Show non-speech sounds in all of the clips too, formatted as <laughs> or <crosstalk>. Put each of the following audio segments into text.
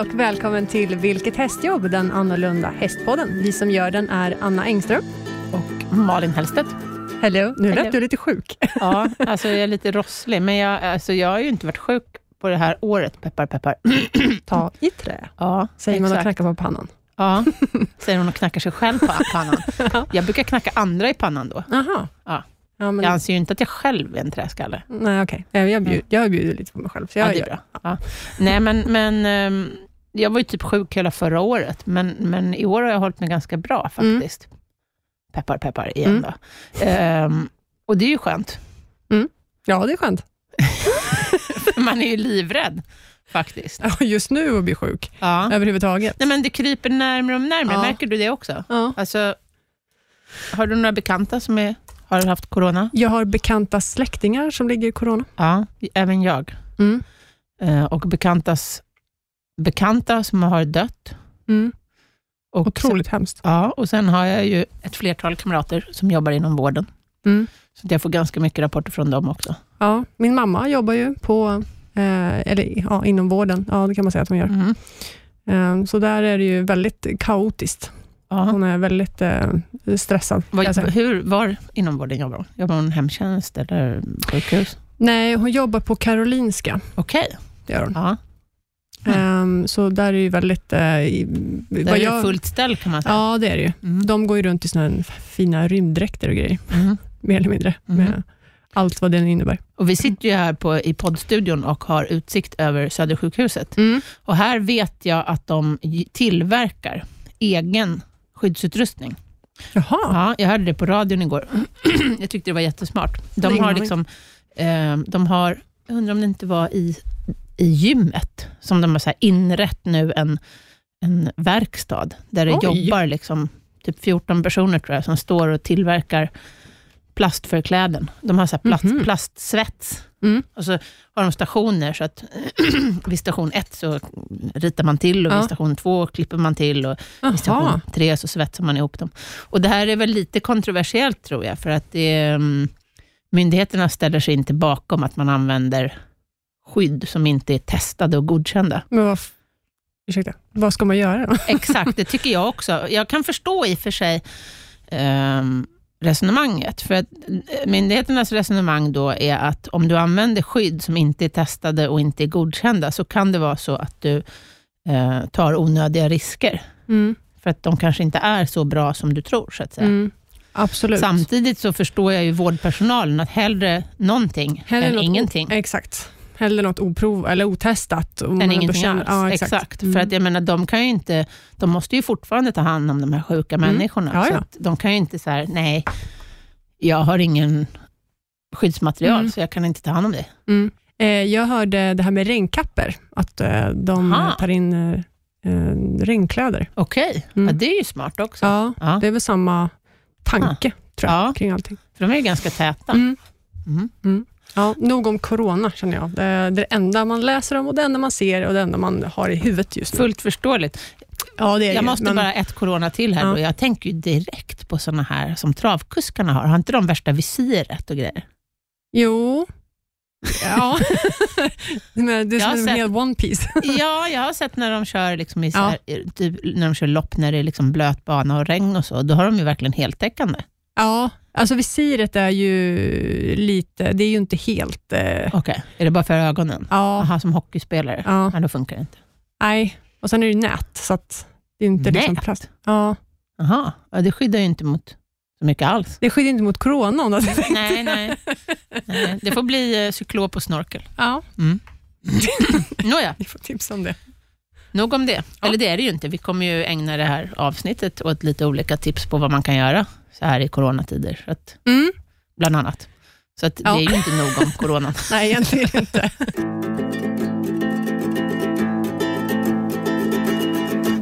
och välkommen till Vilket hästjobb, den annorlunda hästpodden. Vi som gör den är Anna Engström. Och Malin Hellstedt. Hello, nu Hello. lät du lite <clears throat> sjuk. Ja, alltså jag är lite rosslig, men jag, alltså jag har ju inte varit sjuk på det här året, peppar peppar. Ta i trä, Ja, säger man och exakt. knackar på <laughs> pannan. Ja, <laughs> säger hon och knackar sig själv på pannan. Jag brukar knacka andra i pannan då. Aha. Ja. Ja, men, Jag anser ju inte att jag själv är en träskalle. Nej, okej. Jag, jag, bjud, jag bjuder lite på mig själv, så Ja, jag det är gör bra. Ja. Nej, men, men ehm, jag var ju typ sjuk hela förra året, men, men i år har jag hållit mig ganska bra faktiskt. Peppar, peppar igen Mm. då. Ehm, och det är ju skönt. Ja, det är <laughs> skönt. Man är ju livrädd faktiskt. Ja, Just nu att bli sjuk, Ja. överhuvudtaget. Nej, men det kryper närmare och närmare. Ja. Märker du det också? Ja. Alltså, har du några bekanta som är, har haft corona? Jag har bekanta släktingar som ligger i corona. Ja, även jag. Mm. Eh, och bekantas, bekanta som har dött. Mm. Och Otroligt hemskt. Ja, och sen har jag ju ett flertal kamrater som jobbar inom vården. Mm. Så att jag får ganska mycket rapporter från dem också. Ja, min mamma jobbar ju på, eh, eller ja, inom vården. Ja, det kan man säga att hon gör. Mm. Eh, så där är det ju väldigt kaotiskt. Ja. Hon Alltså- är väldigt eh, stressad. kan jag Vad, säga. hur, var inom vården jobbar hon? Jobbar hon hemtjänst eller sjukhus? Nej, hon jobbar på Karolinska. Okej. det Gör hon. Ja. Eh, så där är det ju väldigt... Eh, i- Det vad är jag- jag... fullt ställ kan man säga. Ja, det är det ju. Mm. De går ju runt i såna här fina rymddräkter och grejer, Mm. mer eller mindre. Mm. Med allt vad det innebär. Och vi sitter ju här på, i poddstudion och har utsikt över Södersjukhuset. Och här vet jag att de j- tillverkar egen skyddsutrustning. Jaha. Ja, jag hörde det på radion igår. <clears throat> jag tyckte det var jättesmart. De Ingen har aning. liksom, eh, de har, jag undrar om det inte var i, i gymmet, som de har så här inrett nu en, en verkstad, där det Oj. jobbar liksom, typ 14 personer tror jag, som står och tillverkar plastförkläden. De har så här plast, Mhm. plastsvets. Mm. Och så har de stationer, så att <clears throat> vid station ett så ritar man till och Ja. vid station två klipper man till. Och i station Jaha. tre så svetsar man ihop dem. Och Det här är väl lite kontroversiellt tror jag, för att det, mm, myndigheterna ställer sig inte bakom att man använder skydd som inte är testade och godkända. Men vad, f- ursäkta, vad ska man göra då? Exakt, det tycker jag också. Jag kan förstå i och för sig ehm, resonemanget. För att eh, myndigheternas resonemang då är att om du använder skydd som inte är testade och inte är godkända, så kan det vara så att du eh, tar onödiga risker. För att de kanske inte är så bra som du tror, så att säga. <laughs> Mm. Absolut. Samtidigt så förstår jag ju vårdpersonalen, att hellre någonting Hellre än något o- ingenting. Exakt. Hellre något oprov eller otestat. Och man än ändå ingenting känner- alls. Ja, exakt. exakt. Mm. För att jag menar, de kan ju inte, de måste ju fortfarande ta hand om de här sjuka människorna. Mm. Ja, Så ja. att de kan ju inte säga, nej, jag har ingen skyddsmaterial, Mm. så jag kan inte ta hand om det. Mm. Eh, jag hörde det här med regnkappor, att eh, de Aha. tar in eh, eh, regnkläder. Okej, Mm. ja, det är ju smart också. Ja, Ja. det är väl samma tanke tror jag, Ja. kring allting. För de är ju ganska täta. Mm. Mm. Ja, nog om corona känner jag. Det är det enda man läser om och det enda man ser och det enda man har i huvudet just nu. Fullt förståeligt. Ja, det är det Jag ju, måste Eh, men- bara ett corona till här Ja. då. Jag tänker ju direkt på sådana här som travkuskarna har. Har inte de värsta visiret och grejer? Jo. Ja. <laughs> men det är Jag har som en sett- hel One Piece. <laughs> Ja, jag har sett när de kör, liksom i så här, typ, när de kör lopp när det är liksom blöt bana och regn och så. Då har de ju verkligen heltäckande. Ja, alltså visiret är ju lite, det är ju inte helt... Eh, Okej. Är det bara för ögonen? ja, Jaha, som hockeyspelare? Ja. ja, då funkar det inte. nej. Och sen är det ju nät, så att det är inte liksom Nät? plast. Ja, Jaha, ja, det skyddar ju inte mot så mycket alls. det skyddar inte mot corona. om det- <laughs> nej, <laughs> nej, nej. Det får bli eh, cyklop och snorkel. <laughs> Ja, Nåja, vi får tipsa om det. nog om det. Ja. Eller det är det ju inte. Vi kommer ju ägna det här avsnittet åt lite olika tips på vad man kan göra så här i coronatider. Så att, Mm. bland annat. Så att Ja. det är ju inte nog om <laughs> coronan. Nej, egentligen inte.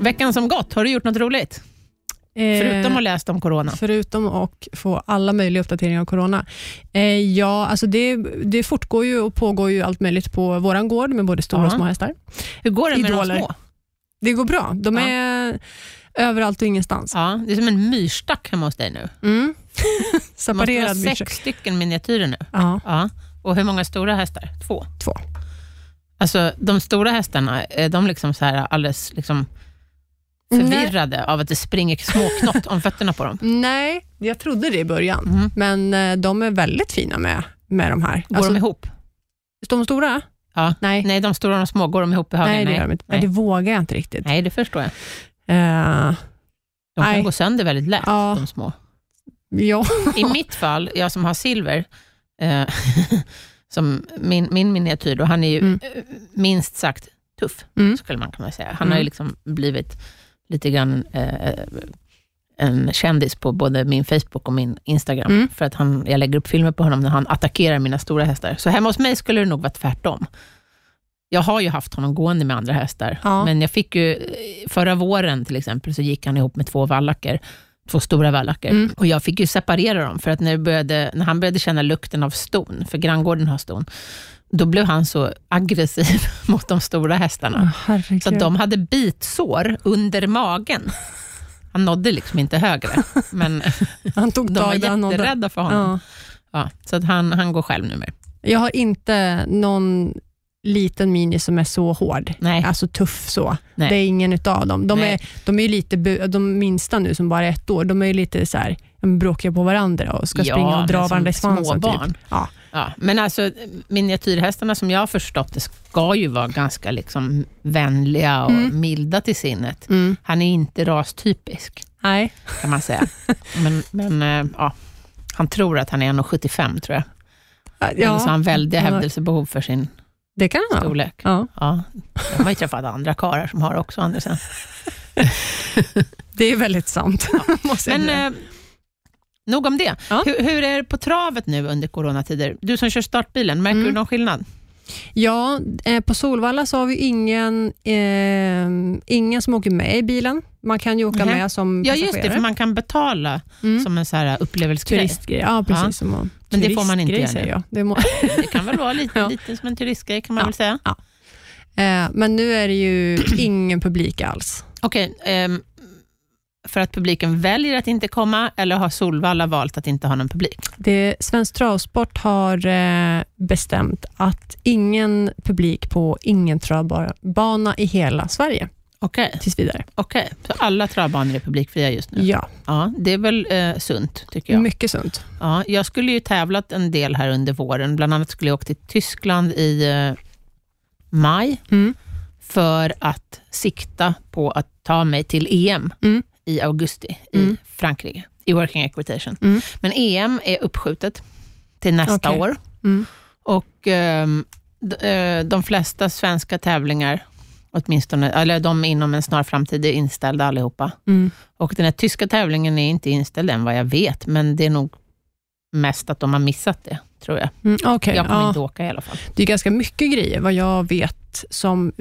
Veckan som gått, har du gjort något roligt? <laughs> Förutom att läsa om corona. Eh, Förutom att få alla möjliga uppdateringar om corona. Eh, ja, alltså det, det fortgår ju och pågår ju allt möjligt på våran gård med både stora och Ja. små hästar. Hur går det med Idoler. de små? Det går bra. De Ja. är överallt och ingenstans. Ja, det är som en myrstack hemma hos dig nu. <laughs> Mm. Det måste vara Separerad sex myrstack. stycken miniatyrer nu. Ja. Ja. Och hur många stora hästar? Två? Två. Alltså, de stora hästarna, är de liksom så här alldeles liksom Mm, förvirrade av att det springer småknott om fötterna på dem? Nej, jag trodde det i början, Mhm. men eh, de är väldigt fina med, med de här. Går Alltså, de ihop? de stora? Ja. Nej. Nej, de stora och de små, går de ihop i högen? Nej, det gör de inte. Nej. Nej. Det vågar jag inte riktigt. Nej, det förstår jag. Eh, De kan Nej. gå sönder väldigt lätt, Ja. de små. ja. I mitt fall, jag som har silver, eh, <laughs> som min, min miniatyr, då, han är ju Mm. eh, minst sagt tuff, Mm. skulle man kunna säga. Han Mm. har ju liksom blivit lite grann eh, en kändis på både min Facebook och min Instagram, Mm. för att han, jag lägger upp filmer på honom när han attackerar mina stora hästar. Så hemma hos mig skulle det nog vara tvärtom. Jag har ju haft honom gående med andra hästar, Ja. men jag fick ju, förra våren till exempel, så gick han ihop med två vallacker, två stora vallacker. Mm. Och jag fick ju separera dem, för att när, jag började, när han började känna lukten av ston, för granngården har ston, då blev han så aggressiv <laughs> mot de stora hästarna. Åh, herregud. Så att de hade bitsår under magen. Han nådde liksom inte högre, <laughs> men Han tog de var tag där han nådde. jätterädda för honom. Ja. Ja. så att han, han går själv numera. Jag har inte någon liten mini som är så hård. Nej. Alltså tuff så. Nej. Det är ingen utav dem. De Nej. är, de är ju lite, bu- de minsta nu som bara är ett år, de är ju lite så här, ja, men bråkiga på varandra och ska Ja, springa och dra men som varandra i svansen. småbarn. Typ. Ja. Ja, men alltså, miniatyrhästarna som jag har förstått det ska ju vara ganska liksom vänliga och Mm. milda till sinnet. Mm. Han är inte rastypisk, Nej. kan <laughs> man säga. men men eh, ja, han tror att han är 1,75 tror jag. Eller så har Ja, han väldiga Han har- hävdelsebehov för sin det kan han ha. storlek. Ja. Ja, jag har ju träffat andra karlar som har också, Andersen. Det är väldigt sant. <laughs> Måste jag Men säga. eh, nog om det. Ja. Hur, hur är det på travet nu under coronatider? Du som kör startbilen, märker Mm. du någon skillnad? Ja, eh, på Solvalla så har vi ingen, eh, ingen som åker med i bilen. Man kan ju åka Mhm. med som Ja, passagerare. just det, för man kan betala Mm. som en så här äh, upplevelsegrej. Turistgrej, ja precis. Ja. Som att- Men det får man inte turistgrej göra nu. säger jag. Det må, Det kan väl vara <laughs> lite, Ja. lite som en turistgrej, kan man Ja. väl säga. eh, men nu är det <clears throat> ju ingen publik alls. Okej, ehm, för att publiken väljer att inte komma, eller har Solvalla valt att inte ha någon publik? Det, Svensk Travsport har eh, bestämt att ingen publik på ingen travbana i hela Sverige Okej, tills vidare. okej. så alla travbanor är publikfria just nu? Ja, Ja, det är väl eh, sunt, tycker jag. mycket sunt. Ja, jag skulle ju tävlat en del här under våren. Bland annat skulle jag åka till Tyskland i eh, maj Mm. för att sikta på att ta mig till EM Mm. i augusti Mm. i Frankrike, i Working Equitation. Mm. Men EM är uppskjutet till nästa Okej. år. Mm. Och ehm, d- eh, De flesta svenska tävlingar, åtminstone, eller de inom en snar framtid, är inställda allihopa. Mm. Och den här tyska tävlingen är inte inställd än vad jag vet, men det är nog mest att de har missat det, tror jag. Mm, okej, jag kommer ja. inte åka i alla fall. Det är ganska mycket grejer vad jag vet som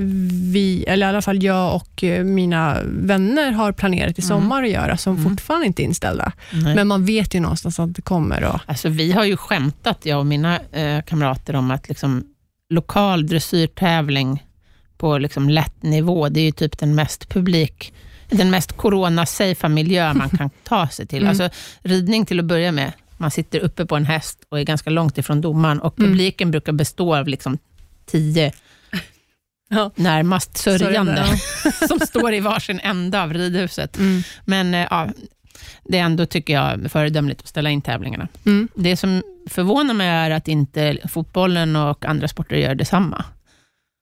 vi, eller i alla fall jag och eh, mina vänner har planerat i sommar att göra som Mm. fortfarande inte är inställda. Nej. Men man vet ju någonstans att det kommer. Och, Alltså, vi har ju skämtat, jag och mina eh, kamrater, om att liksom, lokal dressyrtävling på liksom, lätt nivå, det är ju typ den mest publik den mest corona-safea miljö man <laughs> kan ta sig till. Mm. Alltså, ridning till att börja med, man sitter uppe på en häst och är ganska långt ifrån domaren och Mm. publiken brukar bestå av liksom tio <laughs> Ja. närmast sörjande. Sörjande, <laughs> som står i varsin ända av ridhuset. Mm. Men eh, ja, det är ändå, tycker jag, föredömligt att ställa in tävlingarna. Mm. Det som förvånar mig är att inte fotbollen och andra sporter gör detsamma.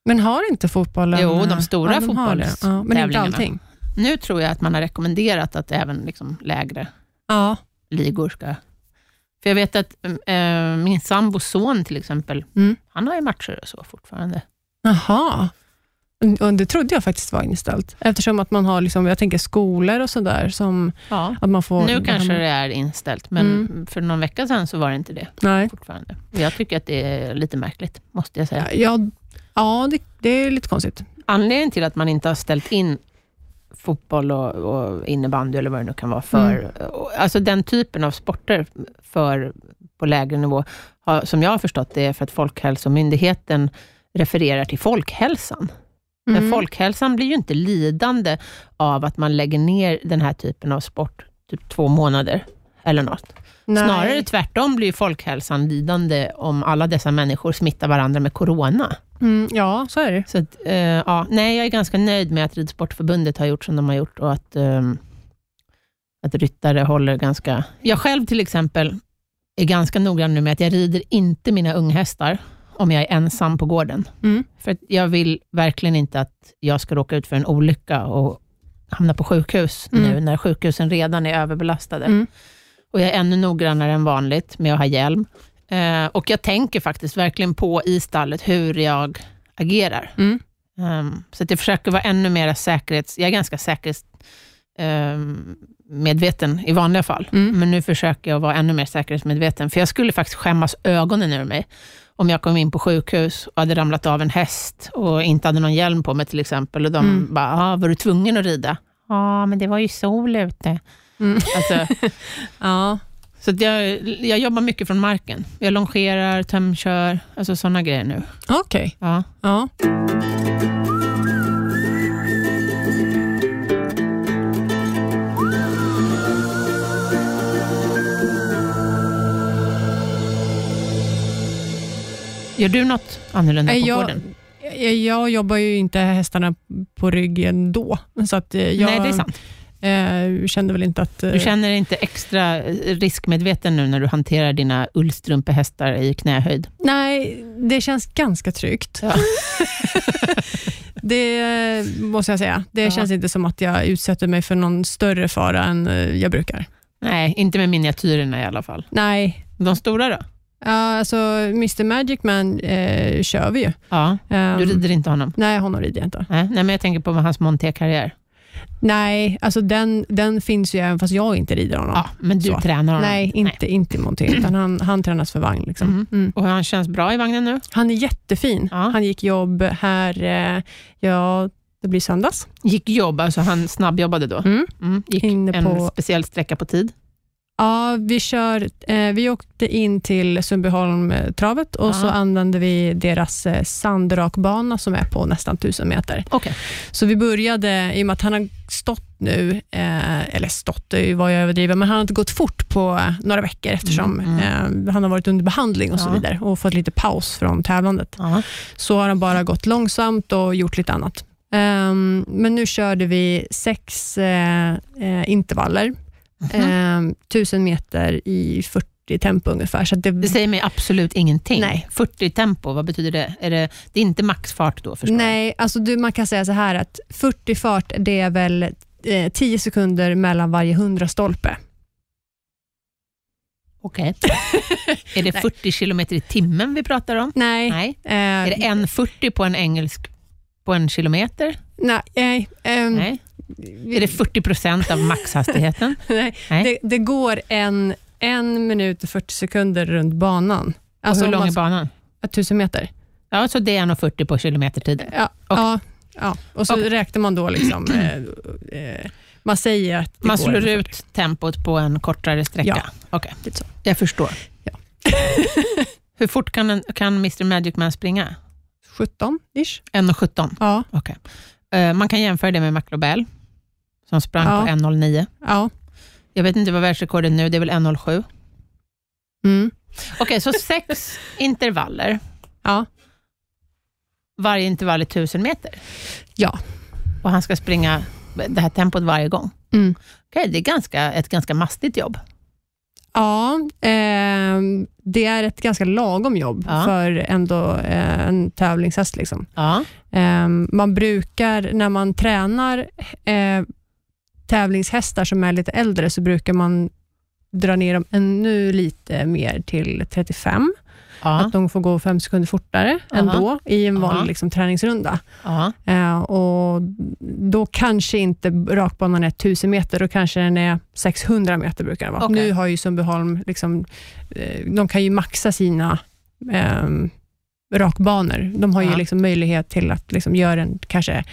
Men har inte fotbollen... Jo, de stora de har det. Ja, men inte fotbollstävlingarna. allting. Nu tror jag att man har rekommenderat att även liksom lägre Ja. ligor ska... För jag vet att eh, min sambos son till exempel, Mm. han har ju matcher och så fortfarande. Jaha. Och det trodde jag faktiskt var inställt. Eftersom att man har liksom, jag tänker skolor och sådär. Som Ja. att man får... Nu kanske det är inställt, men Mm. för någon vecka sedan så var det inte det Nej. fortfarande. Och Jag tycker att det är lite märkligt, måste jag säga. Ja, ja det, det är lite konstigt. Anledningen till att man inte har ställt in fotboll och, och innebandy eller vad det nu kan vara för, Mm. och- alltså den typen av sporter för, på lägre nivå, har, som jag har förstått det, är för att Folkhälsomyndigheten refererar till folkhälsan. Men Mm. folkhälsan blir ju inte lidande av att man lägger ner den här typen av sport typ två månader eller något. Nej. Snarare tvärtom blir ju folkhälsan lidande om alla dessa människor smittar varandra med corona. Mm, ja, så är det. Så att, eh, ja, nej, jag är ganska nöjd med att Ridsportförbundet har gjort som de har gjort och att, ehm, att ryttare håller ganska... Jag själv till exempel är ganska noggrann nu med att jag rider inte mina unghästar om jag är ensam på gården. Mm. För att jag vill verkligen inte att jag ska råka ut för en olycka och hamna på sjukhus Mm. nu när sjukhusen redan är överbelastade. Mm. Och jag är ännu noggrannare än vanligt med att ha hjälm. Eh, och jag tänker faktiskt verkligen på i stallet hur jag agerar. Mm. Ehm, så att jag försöker vara ännu mer säkerhets... Jag är ganska säkerhetsmedveten i vanliga fall. Mm. Men nu försöker jag vara ännu mer säkerhetsmedveten. För jag skulle faktiskt skämmas ögonen ur mig om jag kom in på sjukhus och hade ramlat av en häst och inte hade någon hjälm på mig till exempel. Och de Mm. bara, ah, var du tvungen att rida? Ja, men det var ju sol ute. Mm. Alltså, Ja. så att jag, jag jobbar mycket från marken. Jag longerar, tömkör, alltså sådana grejer nu. Okej. Ja. Ja. Gör du något annorlunda Nej, på jag- gården? Jag, jag jobbar ju inte hästarna på ryggen då, så att eh, jag Nej, det är sant. eh, kände väl inte att... eh, Du känner dig inte extra eh, riskmedveten nu när du hanterar dina ullstrumpehästar i knähöjd? Nej, det känns ganska tryggt. Ja. <laughs> det eh, måste jag säga. Det Ja. känns inte som att jag utsätter mig för någon större fara än eh, jag brukar. Nej, inte med miniatyrerna i alla fall. Nej, De stora då? Ja, alltså Mr Magic Man eh, kör vi ju. Ja, Ehm, du rider inte honom? Nej, honom rider jag inte. Nej, nej, men jag tänker på hans monté-karriär. Nej, alltså den, den finns ju även fast jag inte rider honom. Ja, men du Så. tränar honom? Nej, inte, inte i monté, utan han, han tränas för vagn. Liksom. Mhm. Mm. Och han känns bra i vagnen nu? Han är jättefin. Ja. Han gick jobb här, eh, ja, det blir söndags, Gick jobb, alltså han snabbjobbade då? Mm. Gick inne en på speciell sträcka på tid? Ja, vi, kör, eh, vi åkte in till Sundbyholm eh, travet och så Ja. använde vi deras eh, sandrakbana som är på nästan 1000 meter. Okej. Så vi började, i och med att han har stått nu, eh, eller stått det var jag överdriven, men han har inte gått fort på eh, några veckor eftersom Mm, Eh, han har varit under behandling och så Ja. vidare och fått lite paus från tävlandet. Ja. Så har han bara gått långsamt och gjort lite annat. Ehm, men nu körde vi sex eh, eh, intervaller Mhm. Mm. Ehm, 1000 meter i 40 tempo ungefär. Så att det, Det säger mig absolut ingenting. Nej. 40 i tempo, vad betyder det? Är det, det är inte maxfart då förstår nej, alltså du, man kan säga så här att 40 fart, det är väl eh, 10 sekunder mellan varje 100 stolpe. jag? Okej. <laughs> är det Nej. 40 kilometer i timmen vi pratar om? Nej. Nej. Eh, Är det en 40 på en engelsk på en kilometer? nej, nej, ehm, Nej. Är det 40 procent av maxhastigheten? <laughs> nej. Nej. Det, det går en, en minut och 40 sekunder runt banan. <laughs> Alltså och hur om lång man, är banan? 1000 meter. Ja, så det är 1,40 på kilometertiden. Ja, Okej. ja, ja. och så Okej. räknar man då <clears throat> liksom, eh, eh, man säger att det Man går slår <laughs> ungefär. ut tempot på en kortare sträcka? Ja. Lite så. Jag förstår. Ja. Hur fort kan, en, kan Mr Magic Man springa? 17-ish. 1,17. Ja, Eh, man kan jämföra det med McLobel, som sprang Ja. på 1,09. ja. Jag vet inte vad världsrekordet är nu, det är väl 1,07. Mm. <laughs> Okej, så sex intervaller. Ja. Varje intervall är 1000 meter. Ja. Och han ska springa det här tempot varje gång. Mm. Okej, det är ganska, ett ganska mastigt jobb. Ja, ehm, det är ett ganska lagom jobb Ja. för ändå eh, en tävlingshäst. Liksom. Ja. Ehm, man brukar, när man tränar eh, tävlingshästar som är lite äldre, så brukar man dra ner dem ännu lite mer till 35. Ja. Att de får gå fem sekunder fortare ändå i en vanlig Aha. liksom, träningsrunda. ja. Eh, och då kanske inte rakbanan är 1000 meter, då kanske den är 600 meter brukar den vara. Okej. Nu har ju Sundbyholm, liksom, eh, de kan ju maxa sina ehm, rakbanor. De har ju Ja. liksom möjlighet till att liksom göra en, kanske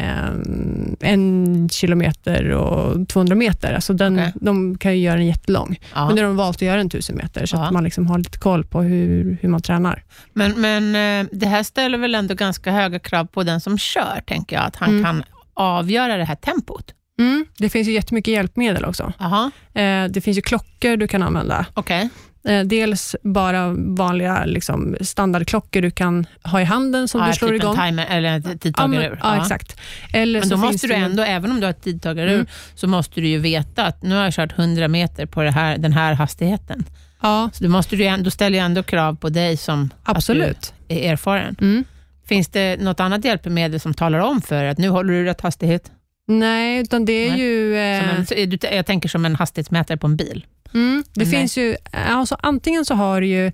ehm, en kilometer och 200 meter. Alltså den, Okej. De kan ju göra den jättelång. ja. Men nu har de valt att göra en 1000 meter, så Ja. att man liksom har lite koll på hur, hur man tränar. Men, men eh, det här ställer väl ändå ganska höga krav på den som kör, tänker jag, att han Mm. kan avgöra det här tempot. Mm, det finns ju jättemycket hjälpmedel också. Jaha, Eh, det finns ju klockor du kan använda. okej. Eh, dels bara vanliga liksom, standardklockor du kan ha i handen som Ja, du slår typ igång. en timer eller en Ja, men- tidtagare ur. ja, exakt. Eller Men så då finns måste det du ju- ändå, även om du har ett tidtagare Mm. ur, så måste du ju veta att nu har jag kört 100 meter på det här, den här hastigheten. Ja, Så då, måste du ju, ändå- då ställer jag ändå krav på dig som absolut. är erfaren. Mm. Finns det något annat hjälpmedel som talar om för dig att nu håller du rätt hastighet? Nej, utan det är Nej. ju... Som Eh, en, så är du- jag tänker som en hastighetsmätare på en bil. mm, det Nej. finns ju... Alltså, antingen så har du ju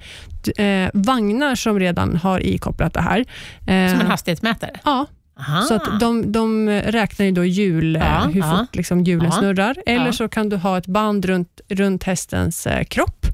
eh, vagnar som redan har ikopplat det här. Eh, Som en hastighetsmätare? Ja, Aha. så att de, de räknar ju då hjul, eh, Ah. Ja, hur ja. fort liksom hjulen Ja, snurrar. Eller ja. så kan du ha ett band runt, runt hästens eh, kropp.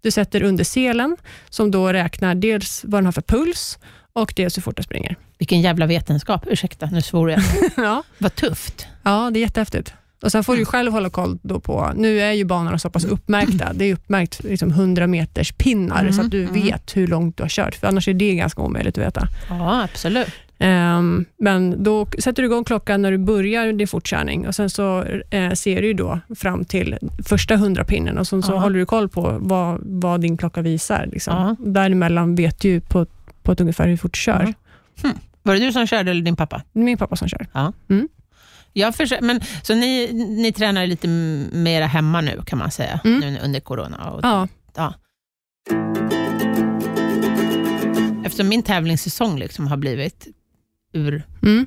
Du sätter under selen, som då räknar dels vad den har för puls och dels hur fort den <laughs> springer. Vilken jävla vetenskap. Ursäkta, nu <laughs> svor jag. ja. Vad tufft. ja, det är jättehäftigt. Och sen får du ju själv hålla koll då på, nu är ju banorna så pass uppmärkta, det är uppmärkt liksom 100 meters pinnar Mm, så att du mm. vet hur långt du har kört, för annars är det ganska omöjligt att veta. Ja, absolut. Ehm, men då k- sätter du igång klockan när du börjar din fortkörning och sen så eh, ser du ju då fram till första 100 pinnen och sen så Ja. håller du koll på vad, vad din klocka visar. Liksom. Ja. Däremellan vet du ju på, på ett ungefär hur fort du kör. Ja. Var det du som körde eller din pappa? Det är min pappa som kör. Jag försöker, men, så ni, ni tränar lite m- mera hemma nu kan man säga, Mm. nu under corona? Och, Ja. Eftersom min tävlingssäsong liksom har blivit ur, Mm.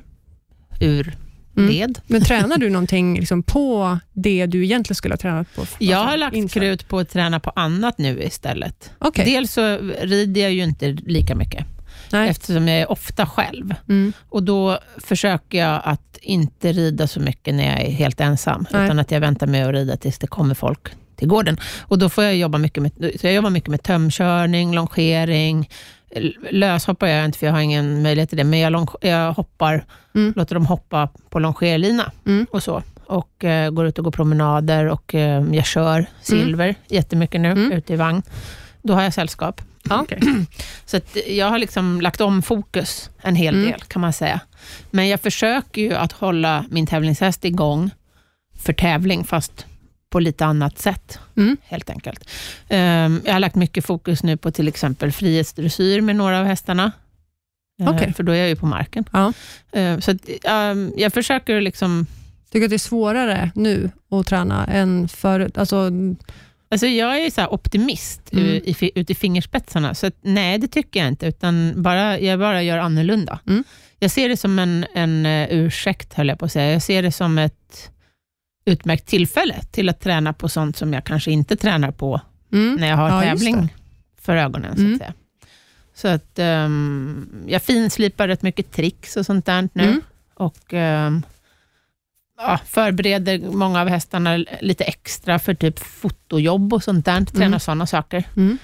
ur Mm. led. Men tränar du någonting liksom på det du egentligen skulle ha tränat på? Jag alltså, har lagt inför? krut på att träna på annat nu istället. Okej. Dels så rider jag ju inte lika mycket, Nej. eftersom jag är ofta själv. Mm. Och Då försöker jag att inte rida så mycket när jag är helt ensam, Nej. utan att jag väntar med att rida tills det kommer folk till gården. Och Då får jag jobba mycket med, så jag jobbar mycket med tömkörning, longering, L- löshoppar gör jag inte, för jag har ingen möjlighet till det, men jag, long, jag hoppar, Mm. låter dem hoppa på longerlina Mm. och så. Och eh, går ut och går promenader och eh, jag kör silver jättemycket nu, Mm. ute i vagn. Då har jag sällskap. Ja, okej. Så att jag har liksom lagt om fokus en hel Mm. del kan man säga. Men jag försöker ju att hålla min tävlingshäst igång för tävling, fast på lite annat sätt Mm. helt enkelt. Ehm, jag har lagt mycket fokus nu på till exempel frihetsdressyr med några av hästarna. Ehm, Okej. För då är jag ju på marken. Ja. Ehm, så att, ehm, jag försöker liksom... Tycker du att det är svårare nu att träna än förut? Alltså, Alltså jag är ju så här optimist Mm. u- i, fi- ut i fingerspetsarna, så att, nej, det tycker jag inte, utan bara, jag bara gör annorlunda. Mm. Jag ser det som en, en eh, ursäkt, höll jag på att säga. Jag ser det som ett utmärkt tillfälle till att träna på sånt som jag kanske inte tränar på mm. när jag har Ja, just tävling för ögonen. Så att, Mm. säga. Så att ehm, jag finslipar rätt mycket tricks och sånt där nu. Mm. Och ehm, ja, förbereder många av hästarna lite extra för typ fotojobb och sånt där. Tränar Mm. sådana saker. Mm.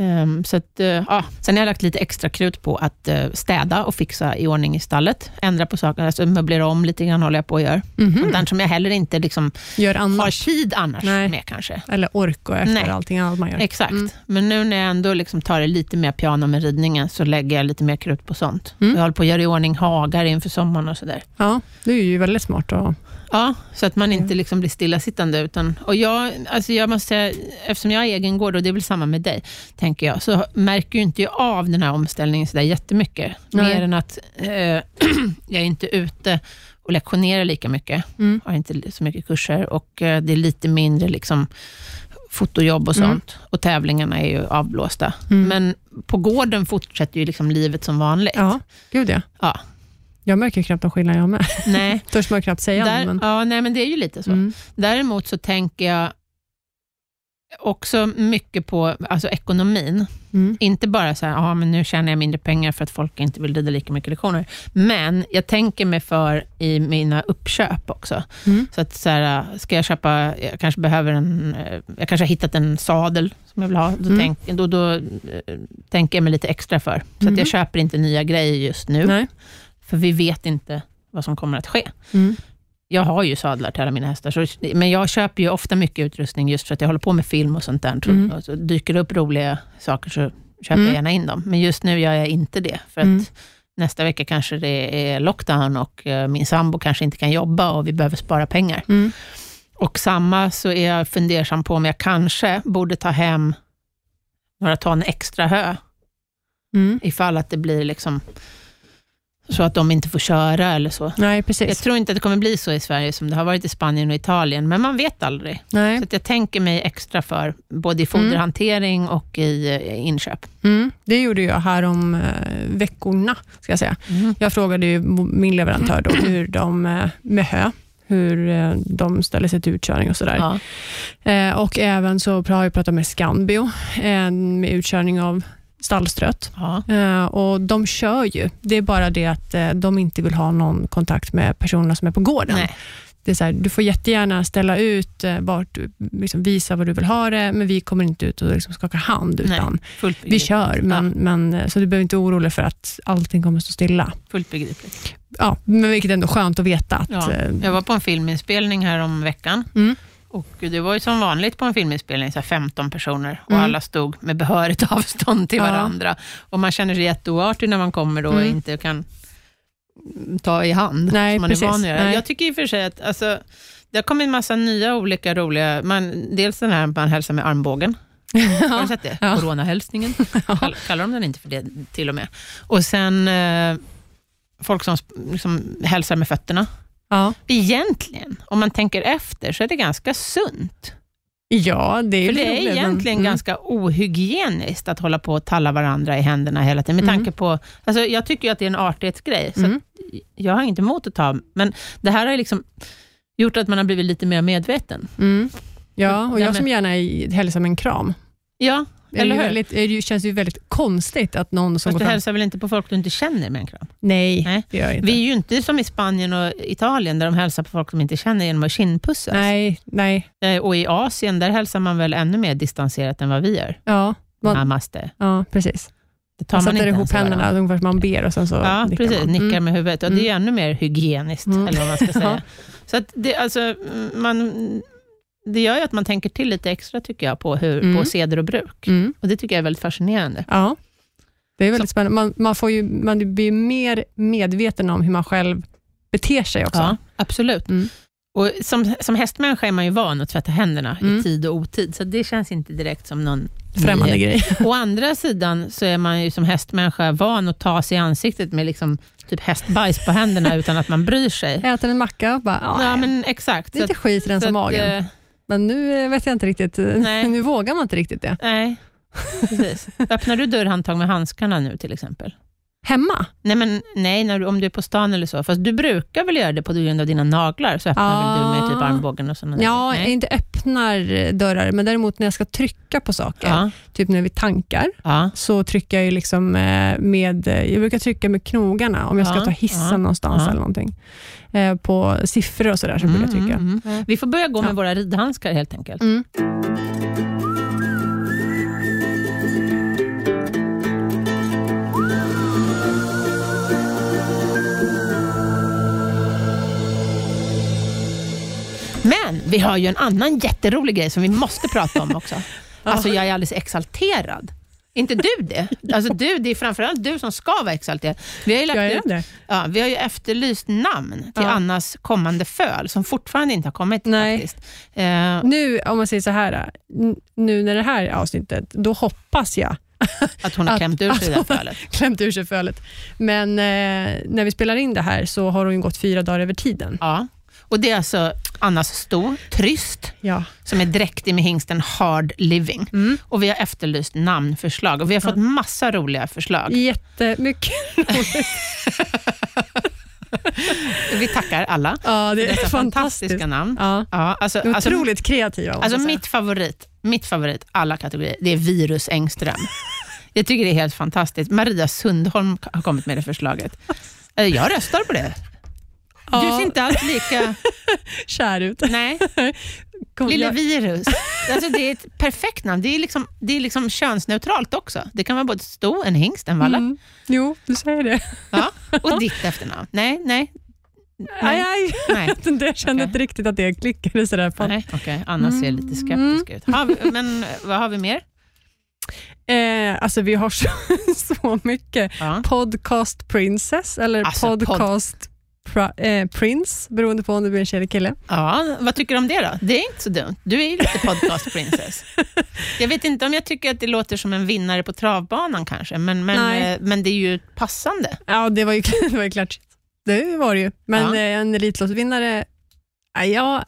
Ehm, så att, eh, ja. Sen har jag lagt lite extra krut på att eh, städa och fixa i ordning i stallet. Ändra på saker, alltså möblera om lite grann håller jag på och gör. Mhm. Sånt där som jag heller inte liksom Gör annat. har tid annars Nej. med kanske. Eller ork och efter Nej. allting annat man gör. Exakt, Mm. men nu när jag ändå liksom tar det lite mer piano med ridningen så lägger jag lite mer krut på sånt. Mm. Jag håller på att göra i ordning hagar inför sommaren och sådär. Ja, det är ju väldigt smart. Och, Ja, så att man inte Ja. liksom blir stillasittande. Utan, och jag, alltså jag måste säga, eftersom jag har egen gård, och det är väl samma med dig, tänker jag, så märker ju inte jag av den här omställningen sådär jättemycket. Nej. Mer än att eh, <clears throat> jag är inte ute och lektionerar lika mycket. Mm. Har inte så mycket kurser och eh, det är lite mindre liksom, fotojobb och sånt. Mm. Och tävlingarna är ju avblåsta. Mm. Men på gården fortsätter ju liksom livet som vanligt. ja, gud ja. Ja. Jag märker ju knappt någon skillnad jag med. <laughs> Nej, Törs man knappt säga där, det. Men, ja, nej, men det är ju lite så. mm. Däremot så tänker jag också mycket på alltså ekonomin. Mm. Inte bara så här, ja men nu tjänar jag mindre pengar för att folk inte vill rida lika mycket lektioner. Men jag tänker mig för i mina uppköp också. Mm. Så att så här, ska jag köpa, jag kanske behöver en, eh, jag kanske har hittat en sadel som jag vill ha. Då, Mm. tänk, då, då eh, tänker jag mig lite extra för. Så att Mhm. jag köper inte nya grejer just nu. Nej. För vi vet inte vad som kommer att ske Mm. jag har ju sadlar till alla mina hästar, så, men jag köper ju ofta mycket utrustning just för att jag håller på med film och sånt där. Mm. Och så dyker det upp roliga saker så köper Mm. jag gärna in dem. Men just nu gör jag inte det, för att Mm. nästa vecka kanske det är lockdown och eh, min sambo kanske inte kan jobba och vi behöver spara pengar. Mm. Och samma så är jag fundersam på om jag kanske borde ta hem några ton extra hö, Mm. ifall att det blir liksom så att de inte får köra eller så. Nej, precis. Jag tror inte att det kommer bli så i Sverige som det har varit i Spanien och Italien, men man vet aldrig. Nej. Så att jag tänker mig extra för både i foderhantering och i eh, inköp. Mm. Det gjorde jag här om eh, veckorna, ska jag säga. Jag frågade ju min leverantör då hur de eh, med hö, hur eh, de ställer sig till utkörning och sådär. Ja. Eh, och även så har jag pratat med Scanbio eh, med utkörning av stallstrött. Ja. Eh, och de kör ju, det är bara det att eh, de inte vill ha någon kontakt med personerna som är på gården. Nej. Det är så här, du får jättegärna ställa ut, eh, vart, du- liksom visa vad du vill ha det, men vi kommer inte ut och liksom skaka hand, Nej. utan Fullt, vi begripligt. kör. Men, men, eh, så du behöver inte vara orolig för att allting kommer att stå stilla. Fullt begripligt. Ja, men vilket är ändå skönt att veta. Att, Ja. eh, Jag var på en filminspelning här om veckan. Mm. Och det var ju som vanligt på en filminspelning, så här 15 personer och Mm. alla stod med behörigt <laughs> avstånd till Ja. varandra. Och man känner sig jätteoartig när man kommer då och Mm. inte kan ta i hand, Nej, som man precis. är van att göra. Nej. Jag tycker i och för sig att alltså, det har kommit en massa nya olika roliga, man, dels den här man hälsar med armbågen, har du sett <laughs> det? <laughs> Ja. Coronahälsningen. Kall, kallar de den inte för det till och med. Och sen eh, folk som sp- liksom, hälsar med fötterna. ja. Egentligen, om man tänker efter, så är det ganska sunt. ja, det är För ju det roligt, är men- egentligen mm. ganska ohygieniskt att hålla på och talla varandra i händerna hela tiden. Med Mm. tanke på, alltså, jag tycker ju att det är en artighetsgrej, så Mm. att jag har inget emot att ta, men det här har ju liksom gjort att man har blivit lite mer medveten. Mm. Ja, och Nej, jag som gärna är- hälsar med en kram. Ja, Det är Eller ju hur? väldigt, det är ju- känns ju väldigt konstigt att någon som fast går du fram... hälsar väl inte på folk du inte känner med en kram? Nej, Nej. det gör jag inte. Vi är ju inte som i Spanien och Italien, där de hälsar på folk som inte känner genom att kindpussas. Nej, nej. Eh, Och i Asien, där hälsar man väl ännu mer distanserat än vad vi gör. Ja, Man- Namaste. ja precis. Det tar Man man sätter inte ihop ens i varandra. händerna, ungefär som man ber och sen så Ja, nickar precis. man. Nickar Mm. med huvudet. Och det är ännu mer hygieniskt, Mm. eller vad man ska <laughs> säga. Ja. Så att det, alltså, mm, man, det gör ju att man tänker till lite extra, tycker jag, på, hur, Mm. på seder och bruk. Mm. Och det tycker jag är väldigt fascinerande. Ja, det är väldigt spännande. Man, man, får ju, man blir mer medveten om hur man själv beter sig också. Ja, absolut. Mm. Och som, som hästmänniska är man ju van att tvätta händerna i Mm. tid och otid, så det känns inte direkt som någon Främmande nyhet. <laughs> grej. Å andra sidan så är man ju som hästmänniska van att ta sig i ansiktet med liksom typ hästbajs på händerna utan att man bryr sig. Äter en macka och bara, Ja, nej, men exakt. Så lite skit att- rensa så att, magen. eh, Men nu eh, vet jag inte riktigt, <laughs> Nej. nu vågar man inte riktigt det. Nej, precis. Öppnar du dörrhandtag med handskarna nu till exempel? Hemma? Nej, men, nej när du, om du är på stan eller så. Fast du brukar väl göra det på grund av dina naglar, så öppnar väl du med typ Ah. armbågen och sådana där? Ja, jag nej. inte öppnar eh, dörrar, men däremot när jag ska trycka på saker, ja. typ när vi tankar, ja. så trycker jag ju liksom eh, med, eh, jag brukar trycka med knogarna om jag ska Ja, ta hissen ja, någonstans ja. eller någonting. Eh, På siffror och sådär så brukar jag Mm, trycka. mm, mm. Vi får börja gå med Ja. våra ridhandskar helt enkelt. Mm. Men vi har ju en annan jätterolig grej som vi måste prata om också. Alltså jag är alldeles exalterad. Inte du det? Alltså du, det är framförallt du som ska vara exalterad. Vi har ju, Jag lagt är ut, det. ja, vi har ju efterlyst namn till Ja. Annas kommande föl, som fortfarande inte har kommit Nej. faktiskt. Eh, Nu, om man säger så här, n- nu när det här är avsnittet, då hoppas jag <laughs> att hon har Att- klämt ur sig att det här hon- fölet. klämt ur sig fölet. Men eh, när vi spelar in det här så har hon ju gått fyra dagar över tiden. Ja. Och det är alltså Annas sto, Tryst, Ja. som är dräktig med hingsten Hard Living. Mm. Och vi har efterlyst namnförslag och vi har fått massa roliga förslag. Jättemycket. Vi tackar alla. Ja, det Dessa är <laughs> fantastiskt. fantastiska namn. Ja. Ja, alltså, alltså, Otroligt kreativa. måste alltså jag säga. mitt favorit, mitt favorit, alla kategorier, det är Virus Engström. Jag tycker det är helt fantastiskt. Maria Sundholm har kommit med det förslaget. Eh, Jag röstar på det. Ja. Du ser inte alls lika... Kär <laughs> ut. Nej. Kom, Lille jag- virus. Alltså det är ett perfekt namn. Det är, liksom, det är liksom könsneutralt också. Det kan vara både sto, en hingst, en valle. Mm. Jo, du säger det. Ja. Och ditt efternamn. Nej, nej, Aj, Nej. aj. <laughs> nej. Det- Jag kände Okej. inte riktigt att det klickade sådär. På. Mm. nej. Okej, Anna ser lite skeptisk ut. Har vi, men eh, vad har vi mer? Eh, alltså vi har så, <laughs> så mycket. Ja. Podcast Princess eller Alltså, pod- Podcast pra, eh, Prince, beroende på om det blir en tjej eller kille. ja, vad tycker du om det då? Det är inte så dumt. Du <laughs> är ju lite podcast princess. Jag vet inte om jag tycker att det låter som en vinnare på travbanan kanske, men, men, Nej. eh, men det är ju passande. Ja, det var ju, <laughs> det var ju klart. shit. Det var det ju. Men Ja. eh, en Elitloppsvinnare, nej, ja,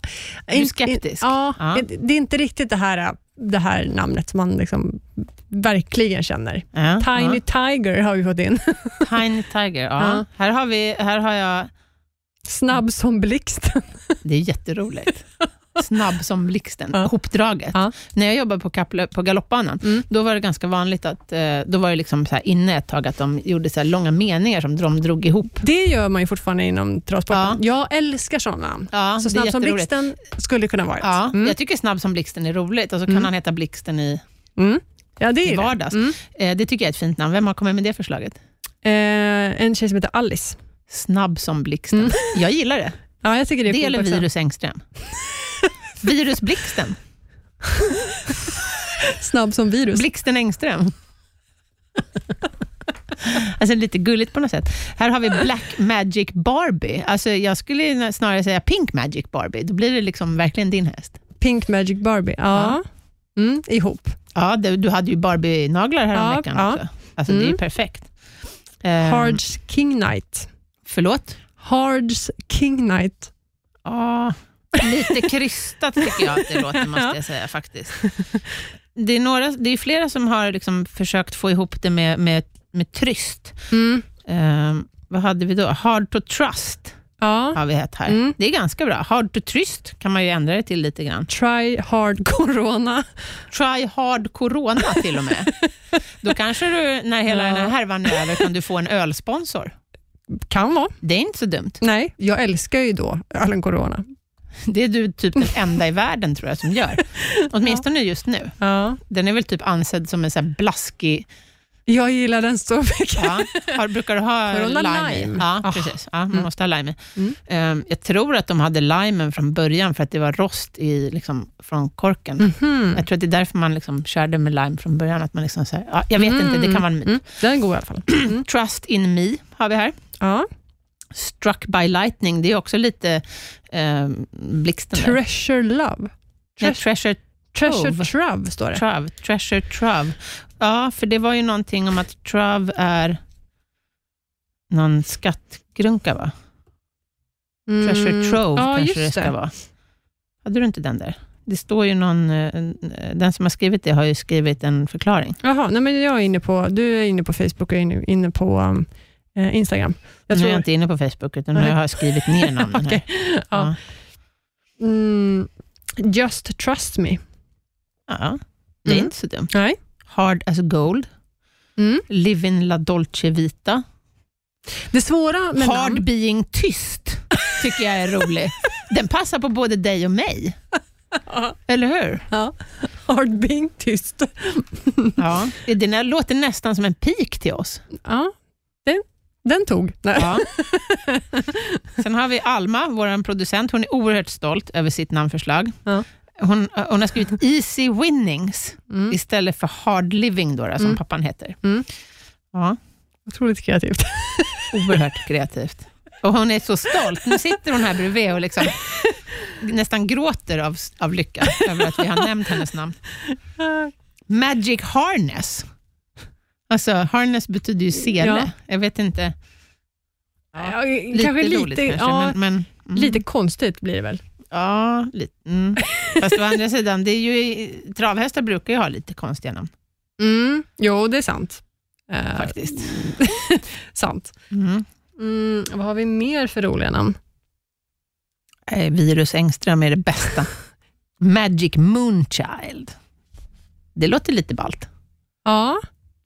Du är in- skeptisk. In, ja, Ja. det- Det är inte riktigt det här, eh, det här namnet som man liksom verkligen känner. Ja, ja. Tiny Tiger har vi fått in. <laughs> Tiny Tiger, ja. Ja. Här, har vi, här har jag... Snabb som blixten. Det är jätteroligt. Snabb som blixten, Ja. hopdraget. Ja. När jag jobbade på, Kaple, på galoppbanan, Mm. då var det ganska vanligt att... eh, Då var det liksom så här inne ett tag att de gjorde så här långa meningar som de drog ihop. Det gör man ju fortfarande inom travsporten. Jag älskar sådana namn. Så Ja, det är Snabb som jätteroligt. blixten skulle kunna vara ett. Ja, mm. Jag tycker Snabb som blixten är roligt och så kan han heta Blixten i, Mm. ja, det är i ju det. vardags. Mm. Eh, Det tycker jag är ett fint namn. Vem har kommit med det förslaget? Eh, en tjej som heter Alice. Snabb som blixten. Mm. Jag gillar det. Ja, jag tycker det är Det coolt eller också. <laughs> Virus Engström. Virus Blixten. Snabb som virus. Blixten Engström. Alltså lite gulligt på något sätt. Här har vi Black Magic Barbie. Alltså jag skulle snarare säga Pink Magic Barbie. Då blir det liksom verkligen din häst. Pink Magic Barbie. Ja. Mm, ihop. Ja, du, du hade ju Barbie-naglar häromveckan Ja, ja. också. Alltså det är ju Mm. perfekt. Ehm, Hards King Knight. Förlåt? Hards King Knight. Ja, lite krystat tycker jag att det låter, måste jag säga faktiskt. Det är, några, det är flera som har liksom försökt få ihop det med, med, med tryst. Mm. Ehm, vad hade vi då? Hard to trust Ja. har vi hett här. Mm. Det är ganska bra. Hard to trust kan man ju ändra det till lite grann. Try Hard Corona. Try hard corona till och med. Då kanske du, när hela Ja. den här härvan är över, kan du få en ölsponsor. Kan vara. Det är inte så dumt. Nej, jag älskar ju då ölen Corona. Det är du typ den enda i världen tror jag som gör. Åtminstone just nu. Ja. Den är väl typ ansedd som en så här blaskig... Jag gillar den så mycket. Ja. Har, brukar <laughs> du ha Corona lime, i? lime. Ja, Ah. precis. Ja, man Mm. måste ha lime i. Mm. Ehm, jag tror att de hade limen från början för att det var rost i, liksom, från korken. Mhm. Jag tror att det är därför man liksom körde med lime från början. Att man liksom så här, ja, jag vet inte, det kan vara en myt. Mm. Den är god i alla <clears throat> fall. Mm. Trust in me har vi här. Ja. Struck by lightning, det är också lite eh, blixten. där. Treasure Love. Nej, Treasure, treasure treasure Trove. Trove står det. trove. Treasure trove. Ja, för det var ju någonting om att trove är någon skattgrunka, va? Mm. Treasure trove ja, kanske just det ska vara. Hade du inte den där? Det står ju någon, eh, en- eh, den som har skrivit det har ju skrivit en förklaring. Jaha, nej men jag är inne på, du är inne på Facebook och jag är inne, inne på um, eh, Instagram. Jag nu tror, är jag inte inne på Facebook, utan nu Nej. har jag skrivit <laughs> ner namnen Okej. här. Ja. mm, just trust me. Ja, det är Mm. inte så dumt. Nej. Hard as gold, Mm. live in la dolce vita, Det svåra med hard namn, being tyst, <laughs> tycker jag är <laughs> rolig. Den passar på både dig och mig, Ja. eller hur? hard being tyst. Ja. Den här låter nästan som en pik till oss. Ja, den, den tog. Nej. Ja. Sen har vi Alma, vår producent. Hon är oerhört stolt över sitt namnförslag. Ja. Hon, eh, hon har skrivit Easy Winnings <laughs> Mm. istället för Hard Living, då, då, som Mm. pappan heter. Mm. Ja. Otroligt kreativt. Oerhört kreativt. Och hon är så stolt. Nu sitter hon här bredvid och liksom nästan gråter av, av lycka <laughs> över att vi har nämnt hennes namn. Magic Harness. Alltså, harness betyder ju sele. Ja. Jag vet inte. Ja, Lite kanske roligt lite, kanske, ja, men... men mm. lite konstigt blir det väl. Ja, lite. Mm. Fast å andra sidan, det är ju, travhästar brukar ju ha lite konstiga namn. Mm. Jo, det är sant. Eh, Faktiskt. sant. <laughs> Mm. Mm, vad har vi mer för roliga namn? Eh, Virus Engström är det bästa. <laughs> Magic Moonchild. Det låter lite balt. Ja,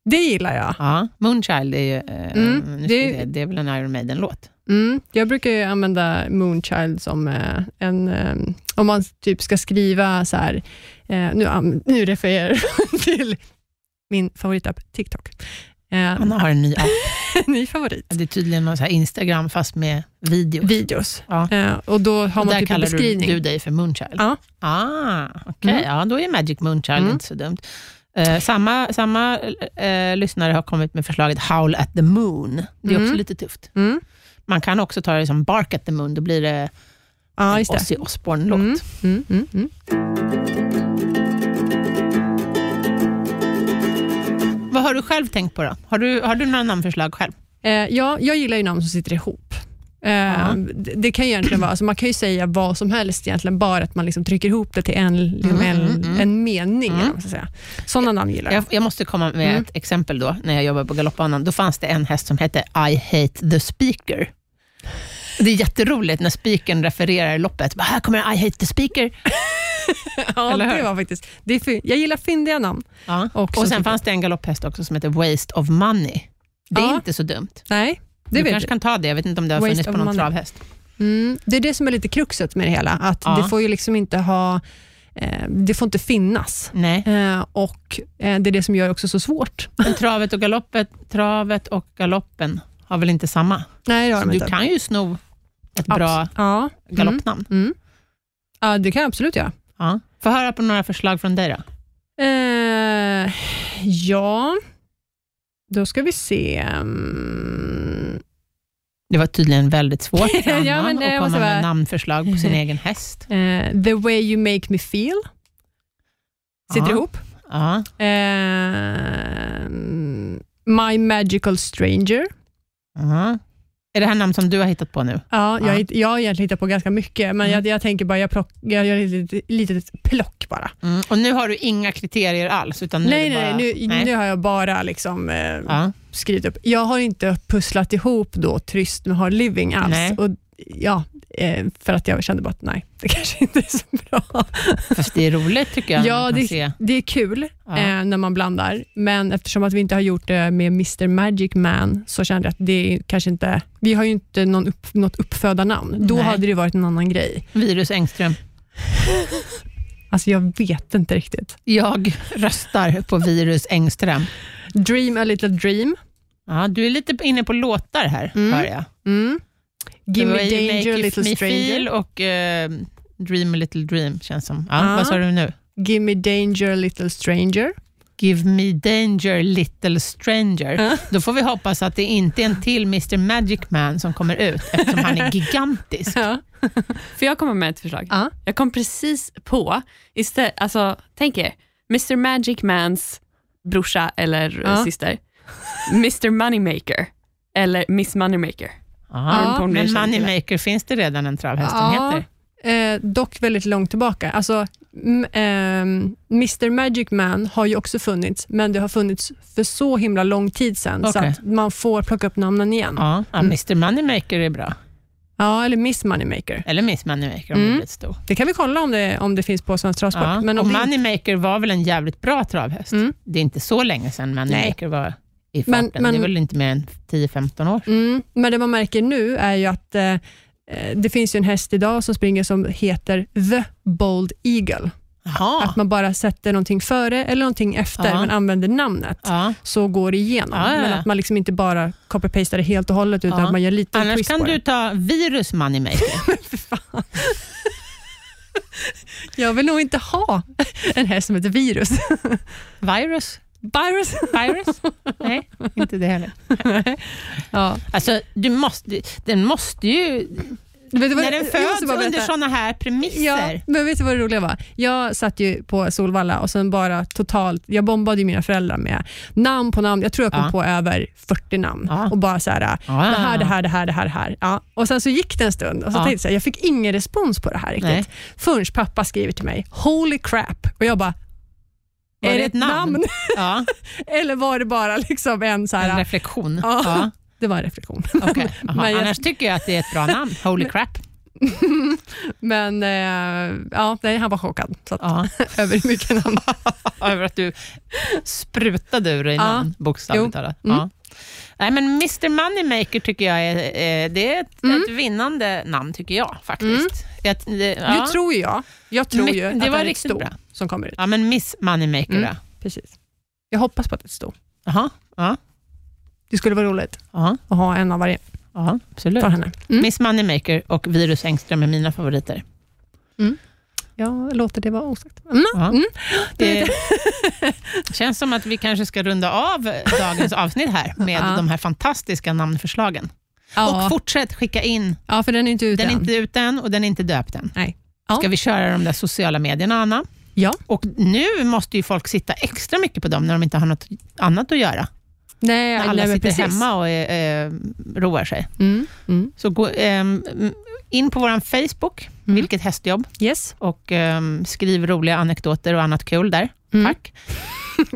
det gillar jag. Ja, Moonchild är ju... eh, Mm, det- nu ska vi se, det är väl en Iron Maiden-låt? Mm. Jag brukar ju använda Moonchild som eh, en... Eh, om man typ ska skriva så här... Eh, nu, an- nu refererar jag <laughs> till min favoritapp TikTok. Eh, Han har en ny <laughs> app. ny favorit. Det är tydligen någon så här Instagram, fast med video. Videos. Ja. Eh, och då har Och man där typ en kallar du, beskrivning. du dig för Moonchild? Ja. Ah, Okej, Mm. ja, då är Magic Moonchild Mm. inte så dumt. Eh, samma samma eh, lyssnare har kommit med förslaget Howl at the Moon. Det är också Mm. lite tufft. Mm. Man kan också ta det som Bark at the Moon, då blir det Ja, en just det. Ozzy Osbourne-låt. Mm, mm, mm, mm. Vad har du själv tänkt på då? Har du, har du några namnförslag själv? Eh, ja, jag gillar ju namn som sitter ihop. Eh, det, det kan ju egentligen vara, alltså man kan ju säga vad som helst egentligen, bara att man liksom trycker ihop det till en, liksom Mm, en, mm, mm. en mening. Mm. eller vad man ska säga. Sådana namn gillar jag. Jag, jag måste komma med Mm. ett exempel då, när jag jobbade på galoppbanan. Då fanns det en häst som hette I hate the speaker. Det är jätteroligt när speakern refererar loppet. Bara, här kommer en I hate the speaker. Ja, eller hur? det var faktiskt, det är, fy- jag gillar fyndiga namn. Ja. Också, Och sen tycker fanns det en galopphäst också som heter Waste of Money. Det är Ja. inte så dumt. Nej, det du vet kanske jag. kan ta det. Jag vet inte om det har Waste funnits på of någon money. travhäst. Mm, det är det som är lite kruxet med det hela, att Ja. det får ju liksom inte ha, eh, det får inte finnas. Nej. Eh, och eh, Det är det som gör det också så svårt. Men travet och galoppet, travet och galoppen har väl inte samma? Nej, det har Så de du inte. kan ju sno ett Abs- bra Ja. Mm. galoppnamn. Mm. Ja, det kan jag absolut göra. Ja. Få höra på några förslag från dig då. Eh, ja, då ska vi se. Mm, Det var tydligen väldigt svårt för <laughs> Anna Ja, men det att komma måste med vara- namnförslag <laughs> på sin egen häst. eh, the way you make me feel. Sitter Ja. ihop. Ja. Eh, my magical stranger. Ja. Är det här namn som du har hittat på nu? Ja, Ja. jag, hitt- jag har egentligen hittat på ganska mycket, men Mm. jag, jag tänker bara, jag, plock, jag gör ett litet, litet plock bara. Mm. Och nu har du inga kriterier alls? Utan nu Nej, är Mm, det nej, nu, bara... nej. nu har jag bara liksom, eh, Ja. skrivit upp. Jag har inte pusslat ihop då Tryst med Hard Living alls. Nej. Och, ja, eh, för att jag kände bara att nej, det <laughs> kanske inte är så bra. Fast det är roligt tycker jag. när <laughs> Ja, man kan det- se. Det är kul Ja. eh, när man blandar, men eftersom att vi inte har gjort det med Mr Magic Man så kände jag att det är kanske inte... Vi har ju inte någon upp, något uppfödarnamn. Då Nej. hade det varit en annan <laughs> grej. Virus Engström. Alltså jag vet inte riktigt. Jag röstar på Virus Engström. Dream a little dream. Ja, du är lite inne på låtar här, Mm. hör jag. Mm. Give me Det var ju danger, Make a little Me stranger. Feel och eh, Dream a little dream, känns som. Ja, Ja. Vad sa du nu? Give me danger, a little stranger. Give me danger, little stranger. Ja. Då får vi hoppas att det inte är en till Mr Magic Man som kommer ut, eftersom han är gigantisk. Ja. Får jag komma med ett förslag? Ja. Jag kom precis på, istället, alltså, tänk er, Mr Magic Mans brorsa eller eh, Ja. syster, Mr Moneymaker eller Miss Moneymaker. Ja, Ja, men Ponny känner till. Moneymaker, finns det redan en travhäst som heter? Eh, dock väldigt långt tillbaka. Alltså, m- ehm, Mr Magic Man har ju också funnits, men det har funnits för så himla lång tid sedan, så Okej. att man får plocka upp namnen igen. Ja, Ja, ja Mm. Mr Moneymaker är bra. eller Miss Moneymaker. Eller Miss Moneymaker om Mm. det blir stor. Det kan vi kolla om det, om det finns på Svensk Travsport. Ja. Men och om det inte- Moneymaker var väl en jävligt bra travhäst? Mm. Det är inte så länge sedan Moneymaker var i farten. Men- men- det är väl inte mer än 10-15 år? Mm, men det man märker nu är ju att eh, eh, det finns ju en häst idag som springer som heter The Bold Eagle. Jaha. Att man bara sätter någonting före eller någonting efter, Ja. men använder namnet. Ja. så går det igenom. Ja, ja, ja. Men att man liksom inte bara copy-pastar det helt och hållet, utan Ja. att man gör lite Annars twist kan på du det. ta virus moneymaker. Jag vill nog inte ha <laughs> en häst som heter virus. Virus? Virus? <laughs> Virus? Nej, inte det heller. Ja. Alltså, du måste, den måste ju... Men det var- när den jag måste föds bara under berätta. sådana här Ja, premisser. men vet du vad det roliga var? Jag satt ju på Solvalla och sen bara totalt, jag bombade ju mina föräldrar med namn på namn. Jag tror jag kom Ja. på över 40 namn Ja. och bara så här, Ja. det här, det här, det här, det här. Det här. Ja. Och sen så gick det en stund och så Ja. tänkte jag, så här, jag fick ingen respons på det här riktigt. Nej. Förrän pappa skriver till mig, holy crap, och jag bara, Var är det ett namn? Ja, Eller var det bara liksom en <laughs> så en här... reflektion. Ja. Ja. Det var en reflektion. okej. <laughs> Jaha, Men jag- Annars tycker jag att det är ett bra namn. Holy crap. <laughs> Men eh, ja, nej, han var chockad. Så att, <laughs> Ja. över hur mycket namn. Över att du sprutade ur dig Ja. Mm. namn, bokstavligt talat. Ja. Nej, men Mr Moneymaker tycker jag är, eh, det är ett, Mm. ett vinnande namn, tycker jag faktiskt. Ett, det, ja. Nu Mm. tror ju jag. Jag tror Men ju det att var är ett riktigt sto bra. som kommer ut. Ja, men Miss Moneymaker Mm. då. Precis. Jag hoppas på att det är ett sto. Jaha, ja, Det skulle vara roligt ja, att ha en av varje. Mm. ja, absolut. Ta henne. Mm. Miss Moneymaker och Virus Engström är mina favoriter. Mm. Jag låter det vara osagt. Mm. Ja. Mm. Det <laughs> känns som att vi kanske ska runda av <laughs> dagens avsnitt här med Ja. de här fantastiska namnförslagen. Och Ja. fortsätt skicka in. ja, för den är inte ute Den är än. inte ut än och den är inte döpt än. Nej. Ja. Ska vi köra de där sociala medierna, Anna? Ja. Och nu måste ju folk sitta extra mycket på dem när de inte har något annat att göra. Nej, När nej, alla men sitter precis. hemma och eh, eh, roar sig. Mm. Mm. Så gå ehm, in på vår Facebook, Mm. Vilket hästjobb, Yes. och ehm, skriv roliga anekdoter och annat kul där. Mm. Tack.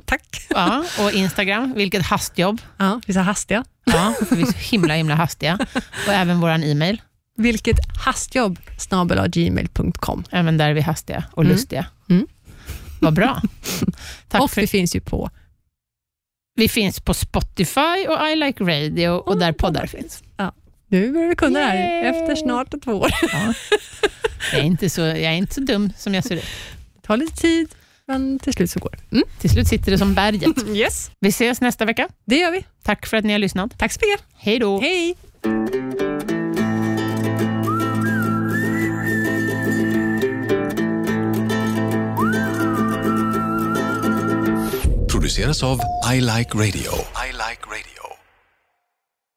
Tack. Ja, och Instagram, Vilket hastjobb. Ja, vi är så hastiga. Ja, för vi är så himla, himla hastiga. Och även vår e-mail, Vilket hastjobb snabel gmail.com. även där är vi hastiga och Mm. lustiga. Mm. Vad bra. Tack Och för vi finns ju på Vi finns på Spotify och I like radio och Oh. där poddar finns. Nu börjar vi kunna det här Yay! efter snart två år. Jag är, inte så, jag är inte så dum som jag ser ut. Det tar lite tid, men till slut så går det. Till slut sitter det som berget. <laughs> Mm. Yes, Vi ses nästa vecka. det gör vi. Tack för att ni har lyssnat. Tack så mycket. Hej då. Hej! produceras av I Like Radio. I like radio.